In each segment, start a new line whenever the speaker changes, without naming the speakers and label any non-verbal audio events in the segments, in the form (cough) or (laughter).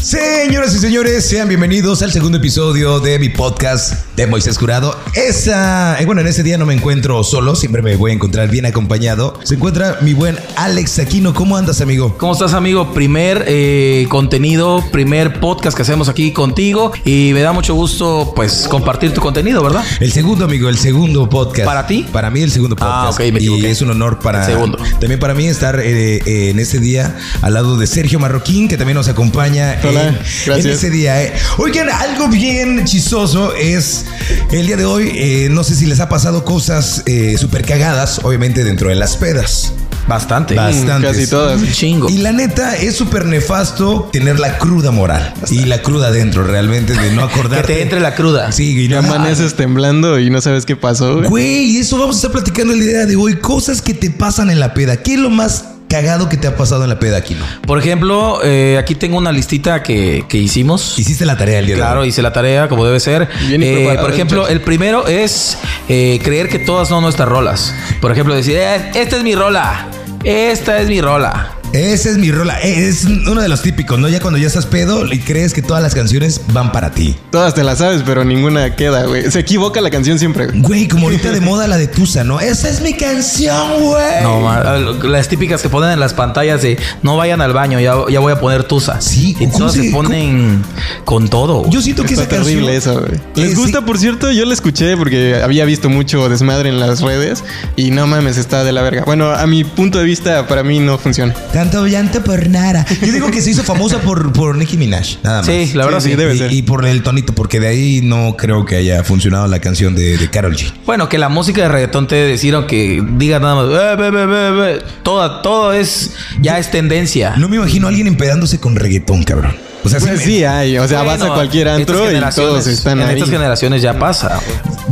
Señoras y señores, sean bienvenidos al segundo episodio de mi podcast de Moisés Jurado. Esa, eh, bueno, en este día no me encuentro solo, siempre me voy a encontrar bien acompañado. Se encuentra mi buen Alex Aquino. ¿Cómo andas, amigo?
¿Cómo estás, amigo? Primer eh, contenido, primer podcast que hacemos aquí contigo y me da mucho gusto, pues, compartir tu contenido, ¿verdad?
El segundo, amigo, el segundo podcast.
¿Para ti?
Para mí el segundo podcast.
Ah, ok, me
y
equivoqué.
es un honor para...
El segundo.
También para mí estar eh, eh, en este día al lado de Sergio Marroquín, que también nos acompaña en-
Hola,
en,
gracias.
este día. eh. Oigan, algo bien chistoso es el día de hoy, eh, no sé si les ha pasado cosas eh, súper cagadas, obviamente dentro de las pedas.
Bastante.
Bas- bastantes.
Casi
(laughs)
todas.
Un chingo.
Y la neta, es súper nefasto tener la cruda moral y la cruda dentro, realmente, de no
(laughs) que
acordarte.
te entre la cruda.
Sí, y
Y
no-
amaneces temblando y no sabes qué pasó. güey.
Güey, eso vamos a estar platicando el día de hoy. Cosas que te pasan en la peda. ¿Qué es lo más cagado que te ha pasado en la peda, Aquino?
Por ejemplo, eh, aquí tengo una listita que, que hicimos.
Hiciste la tarea el día
Claro,
de hoy.
hice la tarea como debe ser.
Bien y
Eh,
preparado,
por ejemplo,
muchacho.
el primero es eh, creer que todas son nuestras rolas. Por ejemplo, decir, "Eh, esta es mi rola, esta es mi rola.
Esa es mi rola. Eh, Es uno de los típicos, ¿no? Ya cuando ya estás pedo y crees que todas las canciones van para ti.
Todas te las sabes, pero ninguna queda, güey. Se equivoca la canción siempre. güey.
Güey, como ahorita de moda la de Tusa, ¿no? Esa es mi canción, güey.
No, ma- las típicas que ponen en las pantallas de no vayan al baño, ya, ya voy a poner tusa.
Sí,
y
¿cómo
todas
se-
se ponen con todo.
Yo siento que
Está
esa canción...
terrible eso, güey.
Eh,
Les gusta,
sí.
por cierto, yo la escuché porque había visto mucho desmadre en las redes y no mames, está de la verga. Bueno, a mi punto de vista, para mí no funciona.
Tanto llanto por nada. Yo digo que se hizo famosa por, por Nicki Minaj, nada más.
sí, la verdad
Sí,
sí.
sí, debe
y,
ser.
y por el tonito, porque de ahí no creo que haya funcionado la canción de, de Carol G.
Bueno, que la música de reggaetón te decían que diga nada más, "Eh, be, be, be, be". toda, todo es, ya es tendencia.
No me imagino a alguien empedándose con reggaetón, cabrón. O sea, sí
Pues
me-
sí hay, o sea, vas
Bueno,
a cualquier
estas
antro y
generaciones-
todos están
En
ahí.
estas generaciones ya pasa.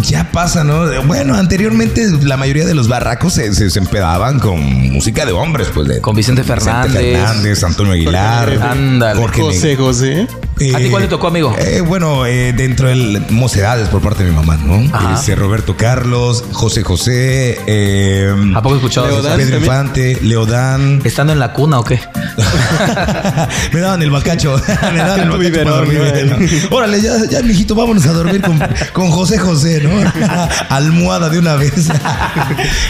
ya pasa, ¿no? Bueno, anteriormente la mayoría de los barracos se, se- se empedaban con música de hombres, pues. De,
Con Vicente Fernández.
Fernández, Antonio Aguilar.
Ándale.
Jorge Neg-
José, José.
Eh,
¿A ti cuál te tocó, amigo?
eh, bueno, eh, dentro de mocedades por parte de mi mamá, ¿no?
Ajá.
Este, Roberto Carlos, José José, eh,
¿A poco escuchabas?
Leodán.
eso?
Pedro
también?
Infante, Leodán.
¿Estando en la cuna o qué?
Me daban el bacacho. (laughs) Me daban el
Tu
bacacho
biberón,
para dormir.
¿no?
¿no? Órale, ya, ya, mijito, vámonos a dormir con, con José José, ¿no? Almohada de una vez. (laughs)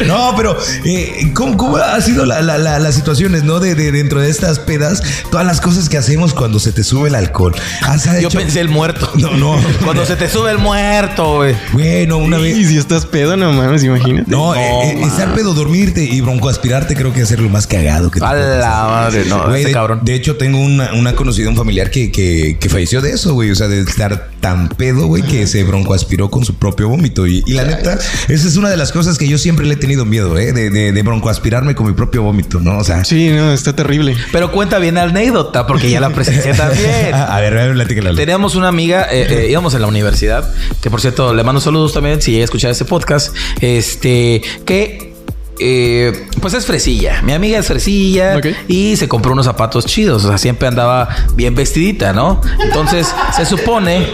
no, pero eh, ¿cómo, cómo ha sido la- la- la- las situaciones, no? De, de- dentro de estas pedas, todas las cosas que hacemos cuando se te sube el alcohol. ¿Has
Yo
hecho-
pensé el muerto.
No, no.
(laughs) Cuando se te sube el muerto, güey.
Bueno, una
Y
vez.
si estás pedo, no mames, imagínate.
No, eh, eh, estar pedo, dormirte y broncoaspirarte creo que es ser lo más cagado que te
A
puede pasar.
la madre, no,
Güey,
este
de,
cabrón.
Ah, de hecho, tengo una, una conocida, un familiar que, que, que falleció de eso, güey. O sea, de estar tan pedo, güey, que se broncoaspiró con su propio vómito. Y, y la neta, esa es una de las cosas que yo siempre le he tenido miedo, ¿eh? De, de, de broncoaspirarme con mi propio vómito, ¿no? O sea, (laughs)
Sí, no, está terrible.
Pero cuenta bien la anécdota, porque ya
(laughs)
la presencié también.
a ver, a ver, platícala.
Teníamos una amiga, eh, eh, íbamos en la universidad, que por cierto, le mando saludos también si llega a escuchar este podcast. Este, que. eh, pues es fresilla. Mi amiga es fresilla
Ok.
y se compró unos zapatos chidos. O sea, siempre andaba bien vestidita, ¿no? Entonces, se supone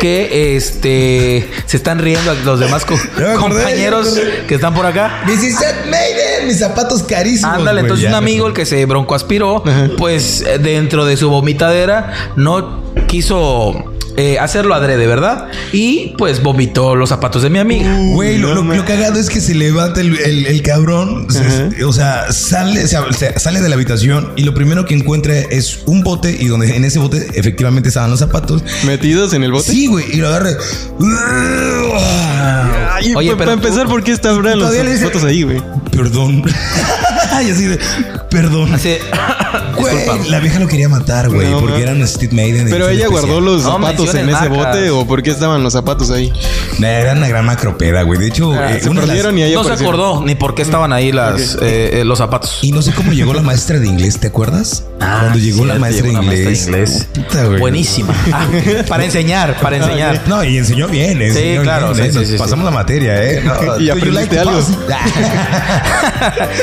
que este se están riendo los demás co-
Ya me acordé, ya
compañeros
me acordé.
que están por acá.
This is it, Maiden, mis zapatos carísimos.
Ándale,
güey.
entonces un
Ya,
amigo, el que se broncoaspiró, pues eh, dentro de su vomitadera no quiso eh, hacerlo adrede, ¿verdad? Y pues vomitó los zapatos de mi amiga.
Güey, lo,
No
lo-
me-
lo cagado es que se levanta el, el- el cabrón, se-
Ajá.
o sea, sale, se- se- sale de la habitación y lo primero que encuentra es un bote y donde en ese bote efectivamente estaban los zapatos.
¿Metidos en el bote?
Sí, güey, y lo agarra.
Ay,
Oye,
pa-
pero
para empezar, ¿por qué están ahora los
Todavía le dice-
fotos ahí, güey?
Perdón. (laughs) y así de, perdón. (laughs)
Así,
Güey,
disculpa.
la vieja lo quería matar, güey,
No,
porque
man.
eran Steve Maiden.
Pero
edición
ella
especial.
guardó los
No
zapatos en
menciones
ese
marcas.
bote o por qué estaban los zapatos ahí.
Era una gran macropeda, güey. De hecho,
Ah,
eh,
Se
una de las-
perdieron y ahí
No se
aparecieron.
acordó ni por qué estaban ahí las, eh, eh, los zapatos.
Y no sé cómo llegó la maestra de inglés, ¿te acuerdas?
Ah,
Cuando llegó
cierto,
la maestra
llegó
de
la
inglés.
maestra de inglés.
Puta, güey. (laughs) Ah,
Buenísima. Ah, para enseñar, para enseñar.
No, y enseñó bien, enseñó
claro,
bien,
sí,
eh,
sí, sí,
pasamos la materia,
(laughs)
¿eh? No,
Y
do you
aprendiste
to
algo.
pass?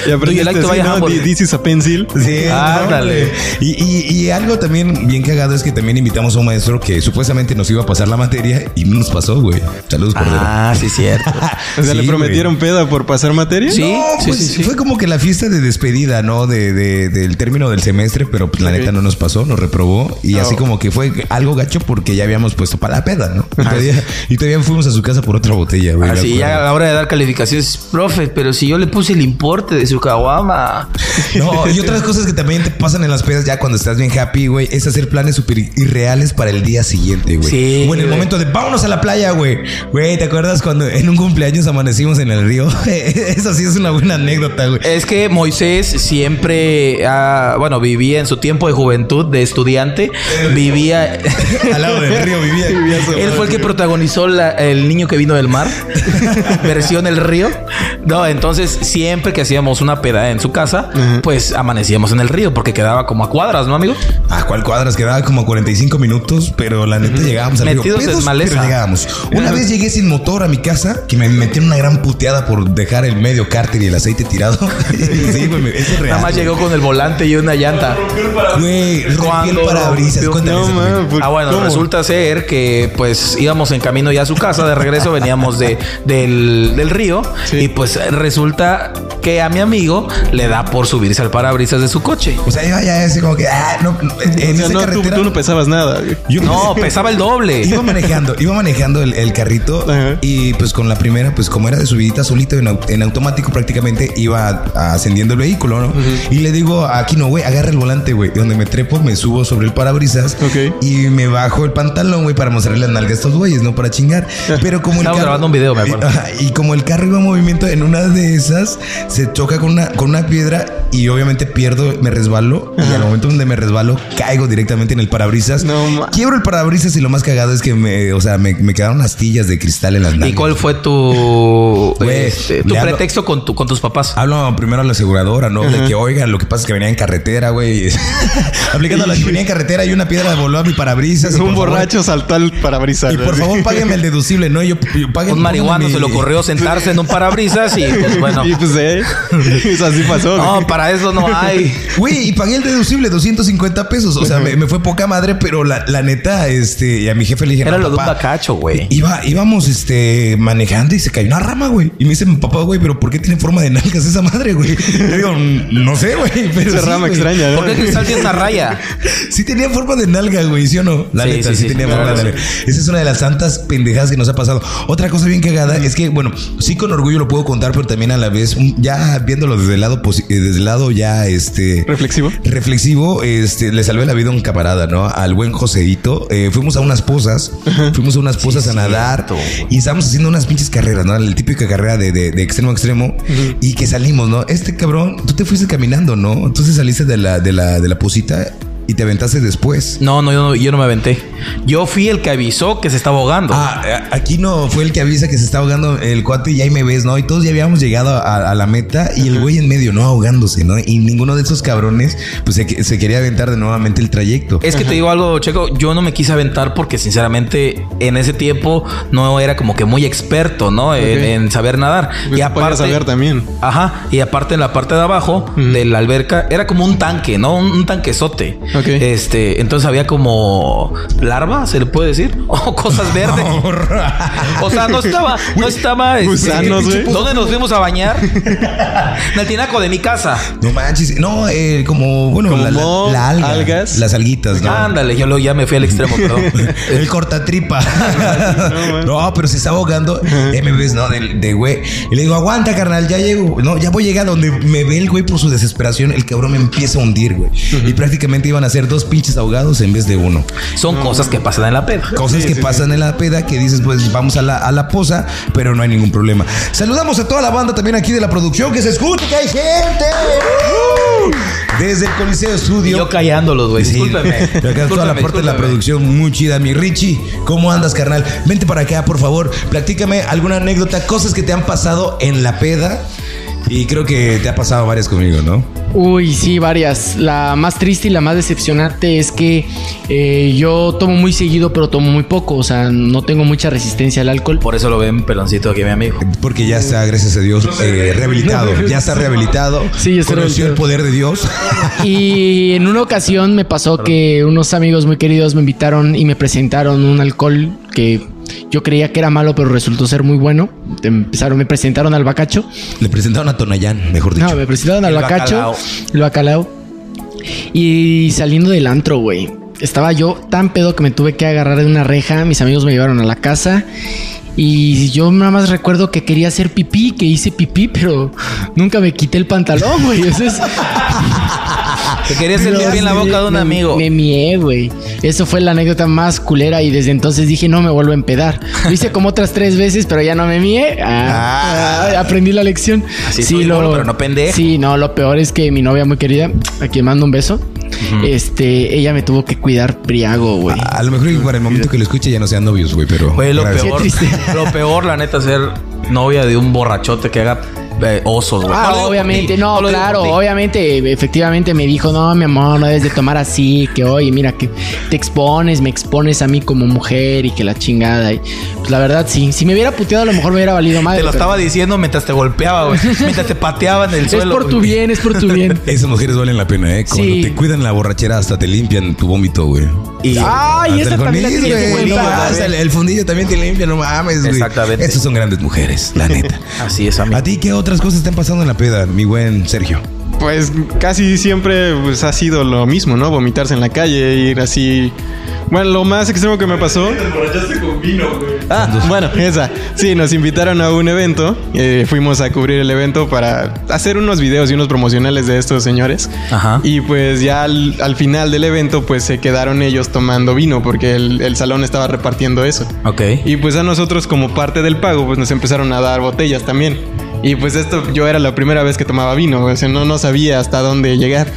Y
Do you like
aprendiste
to
así,
buy a
¿no?
Humble?
Di- This is a pencil.
(laughs)
(laughs)
sí,
Ah, Ándale.
Y, y- y algo también bien cagado es que también invitamos a un maestro que supuestamente nos iba a pasar la materia y no nos pasó, güey. Saludos, Cordero.
Ah, sí, cierto.
O sea,
Sí,
¿le
güey.
prometieron peda por pasar materia?
Sí,
No,
sí,
pues
sí, sí.
fue como que la fiesta de despedida, ¿no? De, de- del término del semestre, pero pues, la
Ok.
neta no nos pasó, nos reprobó. Y
No.
así como que fue algo gacho porque ya habíamos puesto para la peda, ¿no?
Ah,
Y todavía, y todavía fuimos a su casa por otra botella, (laughs) güey. me
Así Ah, ya a
acuerdo.
la hora de dar calificaciones, profe, pero si yo le puse el importe de su caguama. (laughs)
No, y otras cosas que también te pasan en las pedas ya cuando estás bien happy, güey, es hacer planes súper irreales para el día siguiente, güey.
Sí,
O en el
güey.
momento de vámonos a la playa, güey. Güey, ¿te acuerdas cuando en un cumpleaños amanecimos en el río? (laughs) Esa sí es una buena anécdota, güey.
Es que Moisés siempre, ah, bueno, vivía en su tiempo de juventud, de estudiante, vivía...
Al lado del río vivía.
Él fue el que protagonizó la- el niño que vino del mar, (laughs) versión el río. No, entonces siempre que hacíamos una peda en su casa, pues amanecíamos en el río porque quedaba como a cuadras, ¿no, amigo?
¿A Ah, cuál cuadras? Quedaba como 45 minutos, pero la neta llegábamos al río.
Metidos en
Pedos,
maleza.
pero llegábamos. Una vez llegué sin motor a mi casa, que me metieron una gran puteada por dejar el medio cárter y el aceite tirado. (laughs) sí, güey, me- eso es real.
Nada más
güey.
llegó con el volante y una llanta.
Güey, rompí el
Cuando
parabrisas.
rompió-
Cuéntale
Este No,
eso, güey.
mames. pues,
Ah, bueno,
¿Cómo?
resulta ser que pues íbamos en camino ya a su casa, de regreso veníamos de, del, del río
Sí.
y pues resulta que a mi amigo le da por subirse al parabrisas de su coche.
O sea, yo ya así como que, ah, no, en
O sea,
esa
no, tú,
carretera.
tú no pesabas nada. güey.
yo
No, pesaba
(laughs)
el doble.
Iba manejando, iba manejando el, el carrito
Ajá.
y pues con la primera, pues como era de subidita solito en, au- en automático prácticamente iba a- ascendiendo el vehículo, ¿no? Y le digo, aquí no, güey, agarra el volante, güey. Donde me trepo, me subo sobre el parabrisas
Ok.
y me bajo el pantalón, güey, para mostrarle las nalgas a estos güeyes, ¿no? Para chingar. Pero como el
Estamos Ah, grabando un video, me acuerdo.
Ajá, Y como el carro iba en movimiento, en una de esas se choca con una, con una piedra y obviamente pierdo, me resbalo. Y al momento donde me resbalo, caigo directamente en el parabrisas.
No ma-
Quiebro el parabrisas y lo más cagado es que me, o sea, me, me quedaron astillas de cristal en las nalgas.
¿Y cuál fue tu,
Güey,
este, tu
le hablo- Ah,
pretexto con, tu, con tus papás?
Hablo primero a la aseguradora, ¿no? De que, oigan, lo que pasa es que venía en carretera, güey. (laughs) Aplicando la que venía en carretera y una piedra voló a mi parabrisas. y, por
Un
favor,
borracho saltó al parabrisas.
y por
güey. (laughs)
favor, páguenme el deducible, ¿no? Yo, yo páguenme-
Un marihuano
mi-
se
(laughs)
le ocurrió sentarse en un parabrisas y pues bueno.
Y pues, eh, eso así pasó. güey.
No, para eso no hay.
Güey, y pagué el deducible 250 pesos. O sea, me, me fue poca madre, pero la, la neta, este, (laughs) y a mi jefe le dije,
Era
"No,
lo de un
papá,
bacacho, güey.
Iba, íbamos este, manejando y se cayó una rama, güey. Y me dice mi papá, güey, pero ¿por qué tiene forma de nalgas esa madre, güey? Yo digo, "Mm, no sé, güey. Pero
Esa
sí,
rama
güey.
extraña, ¿no?
¿Por qué el cristal tiene una raya?
Sí tenía forma de nalga, güey, ¿sí o no? La
Sí,
neta,
sí,
sí,
sí,
tenía
sí,
forma
claro,
de nalga. Esa es una de las tantas pendejadas que nos ha pasado. Otra cosa bien cagada es que, bueno, sí con orgullo lo puedo contar, pero también a la vez, mm, ya viéndolo desde el lado, posi- eh, desde el lado ya, este...
Reflexivo.
Reflexivo, este, le salvé la vida a un camarada, ¿no? Al buen Joseito. Eh, fuimos a unas pozas, fuimos a unas pozas a nadar y estábamos haciendo unas pinches carreras, ¿no? La típica carrera de, de- de extremo a extremo y que salimos, ¿no? Este cabrón, tú te fuiste caminando, ¿no? Entonces saliste de la, de la, de la posita y te aventaste después.
No, no, yo no, yo no me aventé. Yo fui el que avisó que se estaba ahogando.
Ah, a- aquí no fue el que avisa que se está ahogando el cuate y ahí me ves, ¿no? Y todos ya habíamos llegado a, a la meta y el güey en medio, ¿no? Ahogándose, ¿no? Y ninguno de esos cabrones, pues se, se quería aventar de nuevamente el trayecto.
Es que te digo algo, Checo, yo no me quise aventar porque sinceramente en ese tiempo no era como que muy experto, ¿no? En,
Ok.
en saber nadar.
Pues
y
tú podías
aparte...
saber también.
Ajá, y aparte en la parte de abajo de la alberca era como un tanque, ¿no? Un, un tanquezote.
Ok.
Este, entonces había como larvas, se le puede decir, (laughs) o cosas verdes. O sea, no estaba, no estaba. este,
Gusanos, güey.
¿Dónde nos fuimos a
(laughs)
bañar? en el tinaco de mi casa.
(laughs) No manches, no, eh, como, bueno,
Como
la, la-
moho,
la alga,
algas.
las alguitas, ¿no?
Ándale, yo luego ya me fui al extremo, perdón.
(laughs)
(laughs)
El cortatripa.
man.
no, pero se está ahogando. Ya me ves, ¿no? De, de güey. Y le digo, aguanta, carnal, ya llego. No, ya voy a llegar donde me ve el güey por su desesperación. El cabrón me empieza a hundir, güey. Y prácticamente iban a ser dos pinches ahogados en vez de uno.
Son cosas que pasan en la peda.
Cosas que pasan en la peda que dices, pues vamos a la, a la posa, pero no hay ningún problema. Saludamos a toda la banda también aquí de la producción que se escucha que hay gente. Desde el Coliseo
Y
Studio.
yo callándolos, güey.
Sí,
Discúlpeme.
Pero acá todo el
Discúlpeme,
aporte de la
discúlpeme.
producción, muy chida. Mi Richie, ¿cómo andas, carnal? Vente para acá, por favor. Platícame alguna anécdota, cosas que te han pasado en la peda. Y creo que te ha pasado varias conmigo, ¿no?
Uy, sí, varias. La más triste y la más decepcionante es que eh, yo tomo muy seguido, pero tomo muy poco. O sea, no tengo mucha resistencia
(laughs)
al alcohol.
Por eso lo ven peloncito aquí, mi amigo.
Porque ya está, gracias a Dios, eh, rehabilitado. Ya está rehabilitado.
Sí, ya está
Conoció
rehabilitado.
el poder de Dios.
Y en una ocasión me pasó que unos amigos muy queridos me invitaron y me presentaron un alcohol que yo creía que era malo, pero resultó ser muy bueno. Empezaron, me presentaron al bacacho.
Le presentaron a Tonayán, mejor dicho.
No, me presentaron al
El
bacacho,
bacalao.
el bacalao. Y saliendo del antro, güey. Estaba yo tan pedo que me tuve que agarrar de una reja. Mis amigos me llevaron a la casa. Y yo nada más recuerdo que quería hacer pipí, que hice pipí, pero nunca me quité el pantalón, güey. Eso es,
Te quería sentir bien la boca de un
me-
amigo.
Me mié, güey. Eso fue la anécdota más culera y desde entonces dije, no me vuelvo a empedar. Lo hice como otras tres veces, pero ya no me mié. Ah, ah, aprendí la lección.
Así soy, gordo, pero no pendejo.
Sí, no, lo peor es que mi novia muy querida, a quien mando un beso, este, ella me tuvo que cuidar priago, güey.
A lo mejor y para el momento que lo escuche ya no sean novios, güey, pero.
Fue lo
Gracias.
peor.
triste.
Lo peor, la neta, ser novia de un borrachote que haga eh, osos, güey. No
Ah,
lo digo por
obviamente,
ti,
no,
lo digo
claro,
por ti.
obviamente, efectivamente me dijo, no, mi amor, no debes de tomar así, que oye, mira, que te expones, me expones a mí como mujer y que la chingada. Y, pues la verdad, sí, si me hubiera puteado a lo mejor me hubiera valido madre.
Te lo
pero
estaba diciendo mientras te golpeaba,
(laughs)
güey. Mientras te pateaba en el
Es
suelo.
por tu
güey.
bien, es por tu
(laughs)
bien.
Esas mujeres valen la pena, ¿eh? Cuando
Sí.
te cuidan la borrachera, hasta te limpian tu vómito, güey.
Y
Hasta
Ay, esa
el
también
fundillo,
la tienes que
güey, no
contar.
más, el, el fundillo también te limpia, no mames, güey.
Exactamente.
Esas son grandes mujeres, la neta.
así es, amigo.
¿A ti qué otras cosas están pasando en la peda, mi buen Sergio?
Pues casi siempre pues, ha sido lo mismo, ¿no? Vomitarse en la calle, ir así. Bueno, lo más extremo que me pasó. Ah, bueno, esa. Sí, nos invitaron a un evento. eh, fuimos a cubrir el evento para hacer unos videos y unos promocionales de estos señores.
Ajá.
Y pues ya al, al final del evento, pues se quedaron ellos tomando vino porque el, el salón estaba repartiendo eso.
Ok.
Y pues a nosotros como parte del pago, pues nos empezaron a dar botellas también. Y pues esto, yo era la primera vez que tomaba vino, o sea, no, no sabía hasta dónde llegar.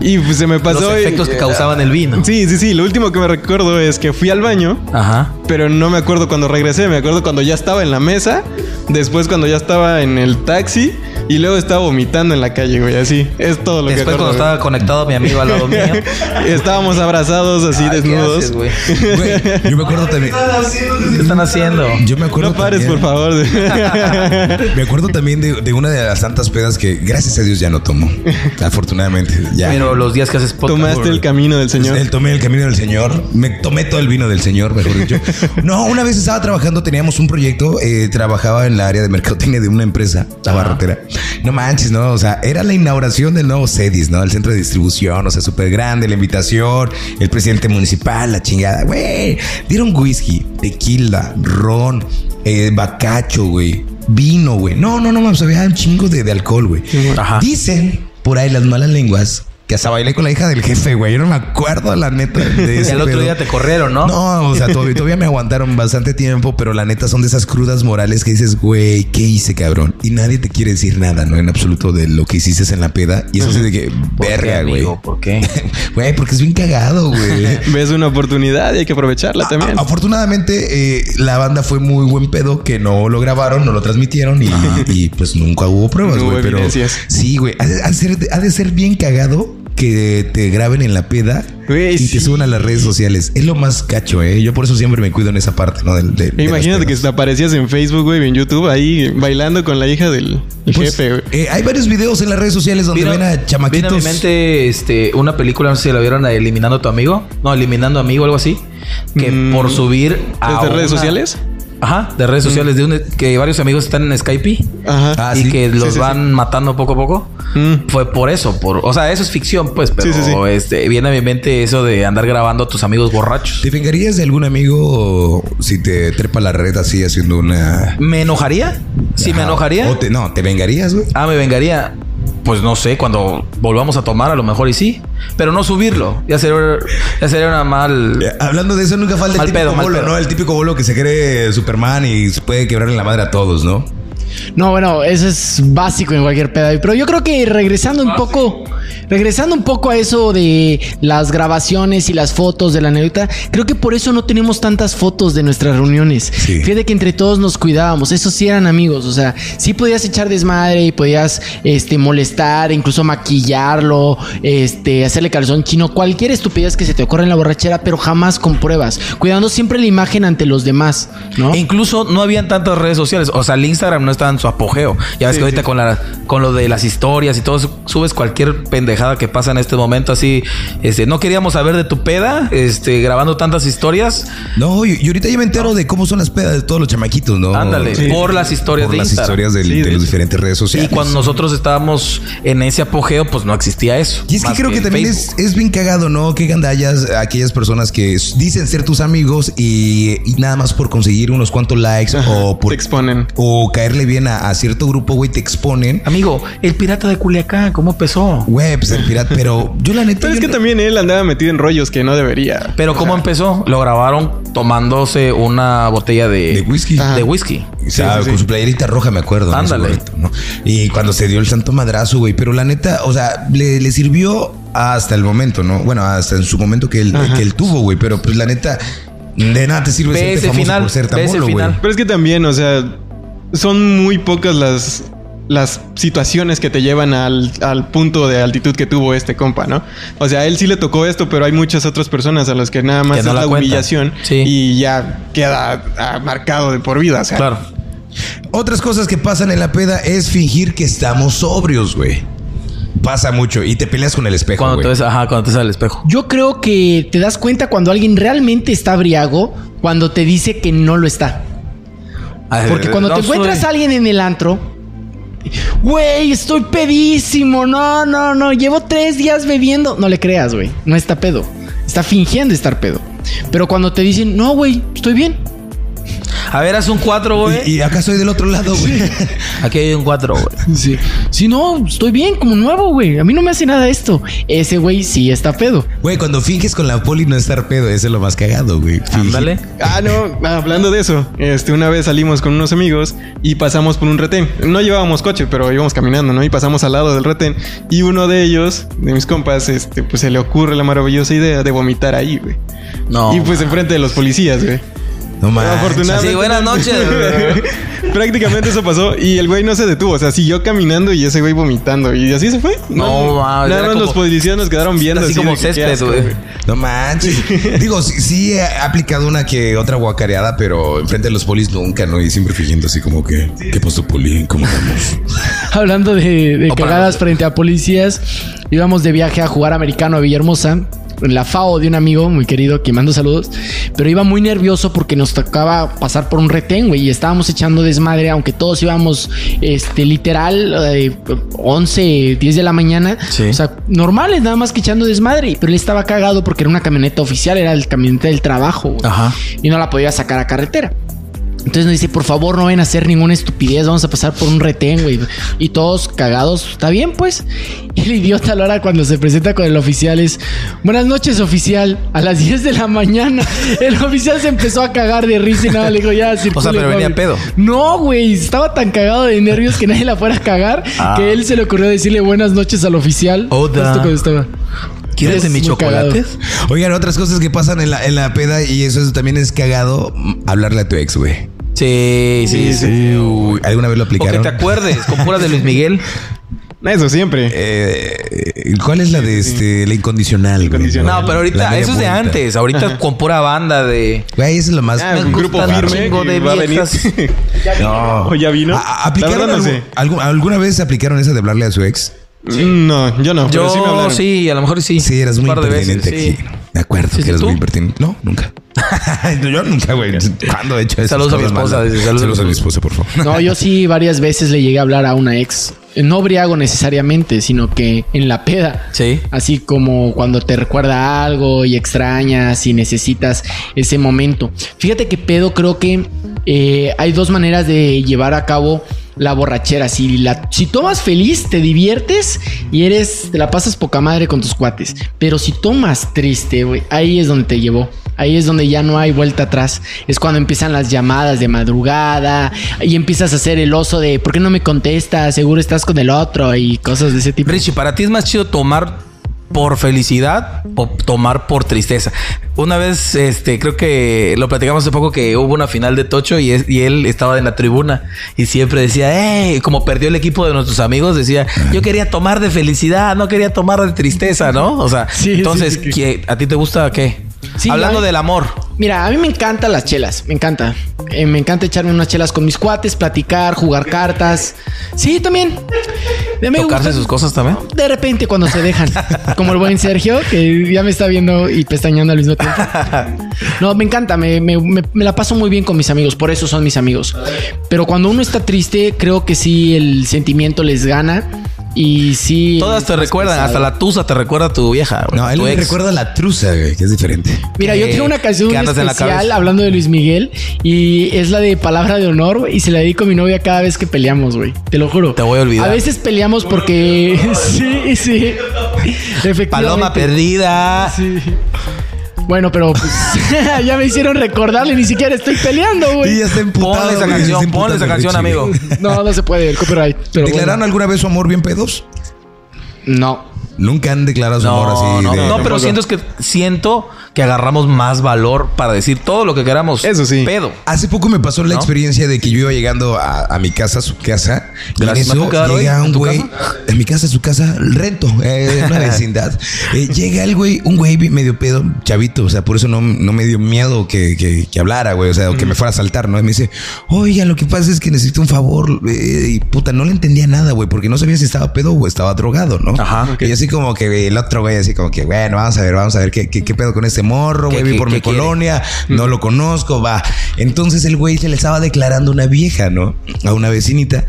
Y pues se me pasó...
Los
y-
efectos que causaban el vino.
Sí, sí, sí, lo último que me recuerdo es que fui al baño,
Ajá.
pero no me acuerdo cuando regresé, me acuerdo cuando ya estaba en la mesa, después cuando ya estaba en el taxi y luego estaba vomitando en la calle, güey, así. Es todo lo
Después
que
cuando
acuerdo,
estaba conectado mi amigo al lado mío.
güey. (laughs) Estábamos abrazados así,
Ay, Ah, ¿qué
desnudos.
haces, güey?
Güey, yo me acuerdo también.
¿Qué están haciendo?
Yo me acuerdo
no pares,
también-
(laughs)
por favor.
Me acuerdo también de, de una de las tantas pedas que, gracias a Dios, ya no tomo. Afortunadamente, ya.
Pero los días que haces podcast.
Tomaste el camino del Señor.
Pues,
Pues
El tomé el camino del Señor, me tomé todo el vino del Señor, mejor dicho. No, una vez estaba trabajando, teníamos un proyecto, eh, trabajaba en la área de mercadotecnia de una empresa, la barrotera. No manches, no, o sea, era la inauguración del nuevo CEDIS, ¿no? El centro de distribución, o sea, súper grande, la invitación, el presidente municipal, la chingada, güey. Dieron whisky, tequila, ron, eh, bacacho, güey. Vino, güey. No, no, no, mames, había un chingo de, de alcohol, güey.
Ajá.
Dicen por ahí las malas lenguas que hasta bailé con la hija del jefe, güey. Yo no me acuerdo, la neta.
(laughs)
De
Y
ese
al otro
pedo.
día te corrieron, ¿no?
¿no? o sea,
(laughs)
todavía, todavía me aguantaron bastante tiempo, pero la neta son de esas crudas morales que dices, güey, ¿qué hice, cabrón? Y nadie te quiere decir nada, ¿no? En absoluto de lo que hiciste en la peda. Y eso es de que,
¿Por qué,
verga, güey.
amigo? ¿Por qué?
(laughs) Güey, porque es bien cagado,
(laughs)
güey.
Ves una oportunidad y hay que aprovecharla también.
A- Ah,
Ah,
afortunadamente, eh, la banda fue muy buen pedo que no lo grabaron, no lo transmitieron y, (laughs) y, pues nunca hubo pruebas,
No hubo
güey. pero
evidencias.
sí, güey. Ha, de- ha de ser- ha de ser bien cagado que te graben en la peda
Güey,
y
sí.
te suban a las redes sociales. Es lo más cacho, eh. Yo por eso siempre me cuido en esa parte, ¿no? Del- de- de las
Imagínate que
pedas.
te aparecías en Facebook, güey, en YouTube, ahí bailando con la hija del del
Pues,
jefe, güey.
eh, hay varios videos en las redes sociales donde
Vino-
ven a chamaquitos.
Vino a mi mente este, una película, no sé si la vieron, la de Eliminando a tu amigo. No, Eliminando a Amigo, algo así. Que
Mm.
por subir a.
¿Desde redes
una-
sociales? Mm.
Ajá, de redes sociales. De un, que varios amigos están en Skype
Ajá.
Ah,
y
sí.
que
Sí,
los
sí,
van matando poco a poco.
Mm.
Fue por eso, por, o sea, eso es ficción, pues, pero
Sí, sí, sí.
Este, viene a mi mente eso de andar grabando a tus amigos borrachos.
¿Te vengarías de algún amigo si te trepa la red así haciendo una.
¿Me enojaría? Si me
Ajá.
enojaría.
O te- no, te vengarías, güey.
Ah, me vengaría. Pues no sé, cuando volvamos a tomar, a lo mejor y sí. Pero no subirlo. Ya sería, ya sería una mal.
Eh, Hablando de eso, nunca falta
Mal
el típico
pedo, mal
bolo,
pedo.
¿no? El típico bolo que se cree Superman y se puede quebrarle la madre a todos, ¿no?
No, bueno, eso es básico en cualquier peda. Pero yo creo que regresando un poco, Regresando un poco a eso de las grabaciones y las fotos de la anécdota, creo que por eso no tenemos tantas fotos de nuestras reuniones.
Sí.
Fíjate que entre todos nos cuidábamos, esos sí eran amigos, o sea, sí podías echar desmadre y podías este, molestar, incluso maquillarlo, este, hacerle calzón chino, cualquier estupidez que se te ocurra en la borrachera, pero jamás con pruebas, cuidando siempre la imagen ante los demás, ¿no?
E incluso no habían tantas redes sociales. O sea, el Instagram no estaba en su apogeo. Ya ves que ahorita con, la, con lo de las historias y todo, su- subes cualquier pendejada que pasa en este momento. Así, este, no queríamos saber de tu peda, este, grabando tantas historias.
No, y, y ahorita ya me entero de cómo son las pedas de todos los chamaquitos, ¿no?
Ándale,
Sí.
por las historias
Por
de
las
Instagram.
historias del-
Sí,
de,
de
las
hecho.
diferentes redes
Y
sociales.
cuando nosotros estábamos en ese apogeo, pues no existía eso.
Y es que
más
creo que,
el
también
Facebook.
es, es bien cagado, ¿no? Que gandallas a aquellas personas que s- dicen ser tus amigos y, y nada más por conseguir unos cuantos likes
oh,
o por
Te exponen.
o caerle bien a, a cierto grupo, güey, te exponen.
Amigo, el pirata de Culiacán, ¿cómo empezó?
Güey, pues el pirata, pero yo la neta.
Pero es
yo
que
no-
también él andaba metido en rollos que no debería.
Pero ¿cómo empezó? Lo grabaron tomándose una botella de,
De whisky.
Ajá.
De whisky.
O sea,
sí, sí.
con su playerita roja, me acuerdo. ¿no?
Ándale.
Su gorrito, ¿no? Y cuando se dio el santo madrazo, güey. Pero la neta, o sea, le, le sirvió hasta el momento, ¿no? Bueno, hasta en su momento que él, que él tuvo, güey. Pero pues la neta, de nada te sirve
Ve
ser
ese
famoso
final,
por ser tan
ve ese
bolo, güey.
final.
Pero es que también, o sea, son muy pocas las, las situaciones que te llevan al, al punto de altitud que tuvo este compa, ¿no? O sea, a él sí le tocó esto, pero hay muchas otras personas a las que nada más
Que no
es
la
la
cuentan.
humillación
Sí.
y ya queda ah, marcado de por vida, o sea.
Claro.
Otras cosas que pasan en la peda es fingir que estamos sobrios, güey. Pasa mucho. Y te peleas con el espejo,
Cuando
güey.
te ves, ajá, cuando te ves al espejo.
Yo creo que te das cuenta cuando alguien realmente está briago, cuando te dice que no lo está. Porque cuando te encuentras a alguien en el antro, güey, estoy pedísimo, no, no, no, llevo tres días bebiendo. No le creas, güey, no está pedo. Está fingiendo estar pedo. Pero cuando te dicen, no, güey, estoy bien.
A ver, haz un 4,
Y,
güey.
y acá soy del otro lado, güey.
(laughs) Aquí hay un 4, güey.
(laughs) Sí. Sí, no, estoy bien, como nuevo, güey. A mí no me hace nada esto. Ese güey sí está pedo.
Güey, cuando finges con la poli no estar pedo, ese es lo más cagado, güey.
Ándale.
Ah, no, hablando de eso, este, una vez salimos con unos amigos y pasamos por un retén. No llevábamos coche, pero íbamos caminando, ¿no? Y pasamos al lado del retén. Y uno de ellos, de mis compas, este, pues se le ocurre la maravillosa idea de vomitar ahí, güey.
No.
y pues enfrente de los policías, güey.
No mames.
Afortunadamente.
Así, buenas noches,
(laughs) Prácticamente eso pasó y el güey no se detuvo. O sea, siguió caminando y ese güey vomitando. Y así se fue.
No, mames,
Nada
era
más
como-
los policías nos quedaron viendo.
así
Así,
como
de que, qué
césped,
asco,
güey.
No manches. Digo, sí, sí he aplicado una que otra guacareada, pero enfrente de los polis nunca, ¿no? Y siempre fingiendo así como que, ¿qué pasó, poli? ¿Cómo estamos?
(laughs) Hablando de, de
O para-
cagadas frente a policías, íbamos de viaje a jugar americano a Villahermosa. En la FAO de un amigo muy querido que mando saludos, pero iba muy nervioso porque nos tocaba pasar por un retén, güey, y estábamos echando desmadre, aunque todos íbamos, este, literal, eh, 11, 10 de la mañana,
Sí.
o sea, normales, nada más que echando desmadre, pero él estaba cagado porque era una camioneta oficial, era el camioneta del trabajo, güey
Ajá.
y no la podía sacar a carretera. Entonces nos dice, por favor, no vayan a hacer ninguna estupidez, vamos a pasar por un retén, güey. Y todos cagados, está bien, pues. Y el idiota a la hora cuando se presenta con el oficial es, buenas noches, oficial, a las 10 de la mañana. (laughs) El oficial se empezó a cagar de risa y nada, le
(laughs)
dijo, ya, circule,
pero
joven".
venía pedo.
No, güey, estaba tan cagado de nervios que nadie la fuera a cagar,
Ah.
que él se le ocurrió decirle buenas noches al oficial.
Oda.
Justo cuando estaba.
¿Quieres de
Es
mis
muy
chocolates?
Oigan, otras cosas que pasan en la, en la peda y eso, eso también es cagado, mm, hablarle a tu ex, güey.
Sí, sí, sí.
Uy, ¿Alguna vez lo
O que
aplicaron?
te acuerdes, con puras de Luis Miguel.
Eso siempre.
Eh, ¿Cuál es la de este, la incondicional? güey,
Incondicional.
No, pero
La
ahorita,
media
eso es de
vuelta.
antes. Ahorita con pura banda de.
Güey, eso es lo más.
Ah,
Me
un grupo
gustan un
firme
chingo
que
de
va a venir. (laughs)
viejas.
No.
¿O ya vino?
A- a- ¿Aplicaron
La verdad no
algún-
sé.
algún- ¿Alguna vez aplicaron esa de hablarle a su ex?
Mm, No, yo no. pero sí me
Yo
hablaron.
sí, a lo mejor sí.
Sí, eras muy
Un par de veces,
impertinente
sí.
aquí. Me acuerdo
Sí, sí,
que eras
¿tú?
muy impertinente. No, nunca. (laughs) Yo nunca, güey. ¿Cuándo he hecho eso?
Saludos a mi esposa, dice,
Saludos,
saludos
a
a
mi
mi
esposa, por favor.
No, yo sí varias veces le llegué a hablar a una ex. No briago necesariamente, sino que en la peda.
Sí.
Así como cuando te recuerda algo y extrañas y necesitas ese momento. Fíjate que pedo creo que eh, hay dos maneras de llevar a cabo la borrachera. Si, la, si tomas feliz, te diviertes y eres, te la pasas poca madre con tus cuates. Pero si tomas triste, güey, ahí es donde te llevó. Ahí es donde ya no hay vuelta atrás. Es cuando empiezan las llamadas de madrugada y empiezas a hacer el oso de ¿por qué no me contestas? Seguro estás con el otro y cosas de ese tipo.
Richie, para ti es más chido tomar por felicidad o tomar por tristeza. Una vez, este, creo que lo platicamos hace poco que hubo una final de Tocho y, es- y él estaba en la tribuna y siempre decía, hey, como perdió el equipo de nuestros amigos, decía, yo quería tomar de felicidad, no quería tomar de tristeza, ¿no? O sea,
Sí, sí,
entonces,
sí, sí.
¿qué- ¿a ti te gusta qué?
Sí,
Hablando
hay-
del amor.
Mira, a mí me encantan las chelas, me encanta. Eh, me encanta echarme unas chelas con mis cuates, platicar, jugar cartas. Sí, también. Me
Tocarse
gusta-
sus cosas también.
De repente cuando se dejan, como el buen Sergio, que ya me está viendo y pestañando al mismo
(laughs)
tiempo. No, me encanta, me, me- me- me la paso muy bien con mis amigos, por eso son mis amigos. Pero cuando uno está triste, creo que sí, el sentimiento les gana y sí...
Todas te
es más
recuerdan,
pesado.
hasta la tusa te recuerda a tu vieja.
No, a él
tu
le
ex.
recuerda la truza, güey, que es diferente.
Mira, yo
que-
tengo una canción
Eh, que andas en la
especial
cabeza.
hablando de Luis Miguel y es la de Palabra de Honor güey, y se la dedico a mi novia cada vez que peleamos, güey. Te lo juro.
Te voy a olvidar.
A veces peleamos porque... (laughs) sí, sí. Efectivamente.
Paloma perdida.
Sí. Bueno, pero pues (laughs) ya me hicieron recordarle, ni siquiera estoy peleando,
Y
güey.
ya está emputado.
Ponle esa
güey, está
canción,
emputando,
ponle esa
güey,
canción,
chico.
amigo.
No, no se puede, el copyright. Pero
¿Declararon
bueno.
alguna vez su amor bien pedos?
No.
Nunca han declarado su amor
No,
así.
no,
de-
no, pero siento es que siento que agarramos más valor para decir todo lo que queramos.
Eso sí.
Pedo.
Hace poco me pasó la
¿No?
experiencia de que yo iba llegando a, a mi casa, a su casa. Y en
Gracias, ¿me
eso
puedo quedar hoy
llega
en
un
tu
güey. En mi casa, su casa, el reto, eh,
(laughs)
en una vecindad. Eh, llega el güey, un güey medio pedo, chavito. O sea, por eso no, no me dio miedo que, que- que hablara, güey. O sea, o que me fuera a saltar, ¿no? Y me dice, oiga, lo que pasa es que necesito un favor. eh, y puta, no le entendía nada, güey, porque no sabía si estaba pedo o estaba drogado, ¿no?
Ajá.
Y así como que el otro güey, así como que, bueno, vamos a ver, vamos a ver qué, qué- qué pedo con este morro,
¿Qué-
güey, vi
qué-
por
qué
mi
quiere?
colonia colonia, no lo conozco, va. Entonces el güey se le estaba declarando una vieja, ¿no? A una vecinita,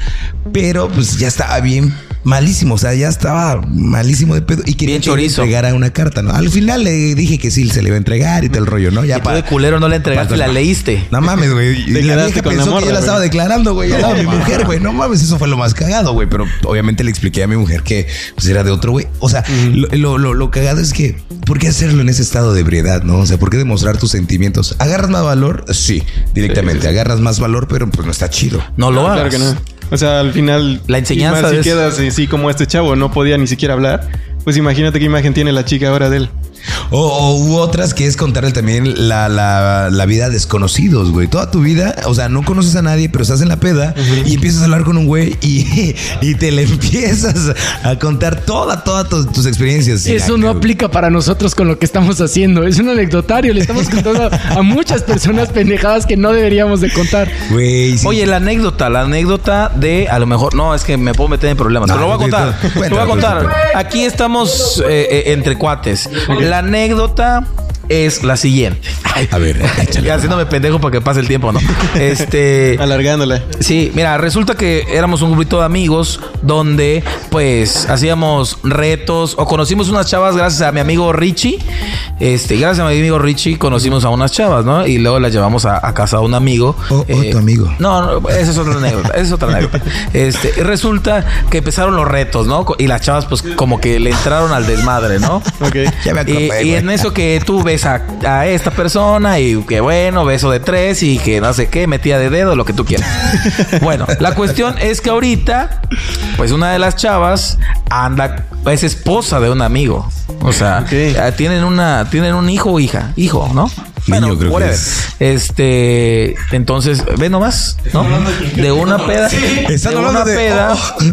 pero pues ya estaba bien malísimo, o sea, ya estaba malísimo de pedo y quería
Bien
que le
chorizo.
entregara una carta, ¿no? Al final le dije que sí, se le iba a entregar y todo el rollo, ¿no? Ya
Y tú
pa-
de culero no le entregaste,
pa-
la leíste.
No mames, güey. Y
Te
la
quedaste
vieja
con la
pensó que
morra,
yo la estaba
güey.
declarando, güey. Al lado de mi
mames.
mujer, güey. No mames, eso fue lo más cagado, güey. Pero obviamente le expliqué a mi mujer que pues, era de otro, güey. O sea, lo, lo, lo- lo cagado es que, ¿por qué hacerlo en ese estado de ebriedad, no? O sea, ¿por qué demostrar tus sentimientos? ¿Agarras más valor? Sí, directamente. Agarras más valor, pero pues no está chido.
No lo hagas.
Ah, Claro que no. O sea, al final.
La enseñanza
y más
de
Si
eso.
quedas así como este chavo, no podía ni siquiera hablar. Pues imagínate qué imagen tiene la chica ahora de él.
O, o hubo otras que es contarle también la, la- la vida a desconocidos, güey. Toda tu vida, o sea, no conoces a nadie, pero estás en la peda y empiezas a hablar con un güey y, y te le (laughs) empiezas a contar toda, todas tus, tus experiencias.
Eso
Y la-
no aplica para nosotros con lo que estamos haciendo. Es un anecdotario. Le estamos contando a muchas personas pendejadas que no deberíamos de contar.
Güey, sí.
Oye, la anécdota, la anécdota de a lo mejor, no, es que me puedo meter en problemas,
No,
pero lo voy a
tú-
contar.
tú-
Lo voy a
cuéntala,
contar.
cuéntala.
Aquí estamos eh, eh, entre cuates. La anécdota es la siguiente. Ay,
A
(laughs)
ver, échale.
ya haciéndome pendejo para que pase el tiempo, ¿no? Este.
Alargándola.
Sí, mira, resulta que éramos un grupito de amigos donde pues hacíamos retos o conocimos unas chavas gracias a mi amigo Richie. Este, gracias a mi amigo Richie conocimos a unas chavas, ¿no? Y luego las llevamos a, a casa de un amigo. Eh,
O- o tu amigo.
No, no, esa es otra anécdota, esa es otra anécdota. Este, y resulta que empezaron los retos, ¿no? Co- Y las chavas pues como que le entraron al desmadre, ¿no?
Ok.
Ya me acordé,
Y, y
güey.
en eso que tú ves a, a esta persona y que bueno, beso de tres y que no sé qué, metida de dedo, lo que tú quieras. bueno, la cuestión es que ahorita, pues una de las chavas anda, es esposa de un amigo. O sea,
Ok.
eh, tienen una, tienen un hijo o hija, hijo, ¿no?
Niño, creo que es.
Este, entonces, ve nomás, ¿no? De una peda.
Están
de
hablando
una
de- Oh.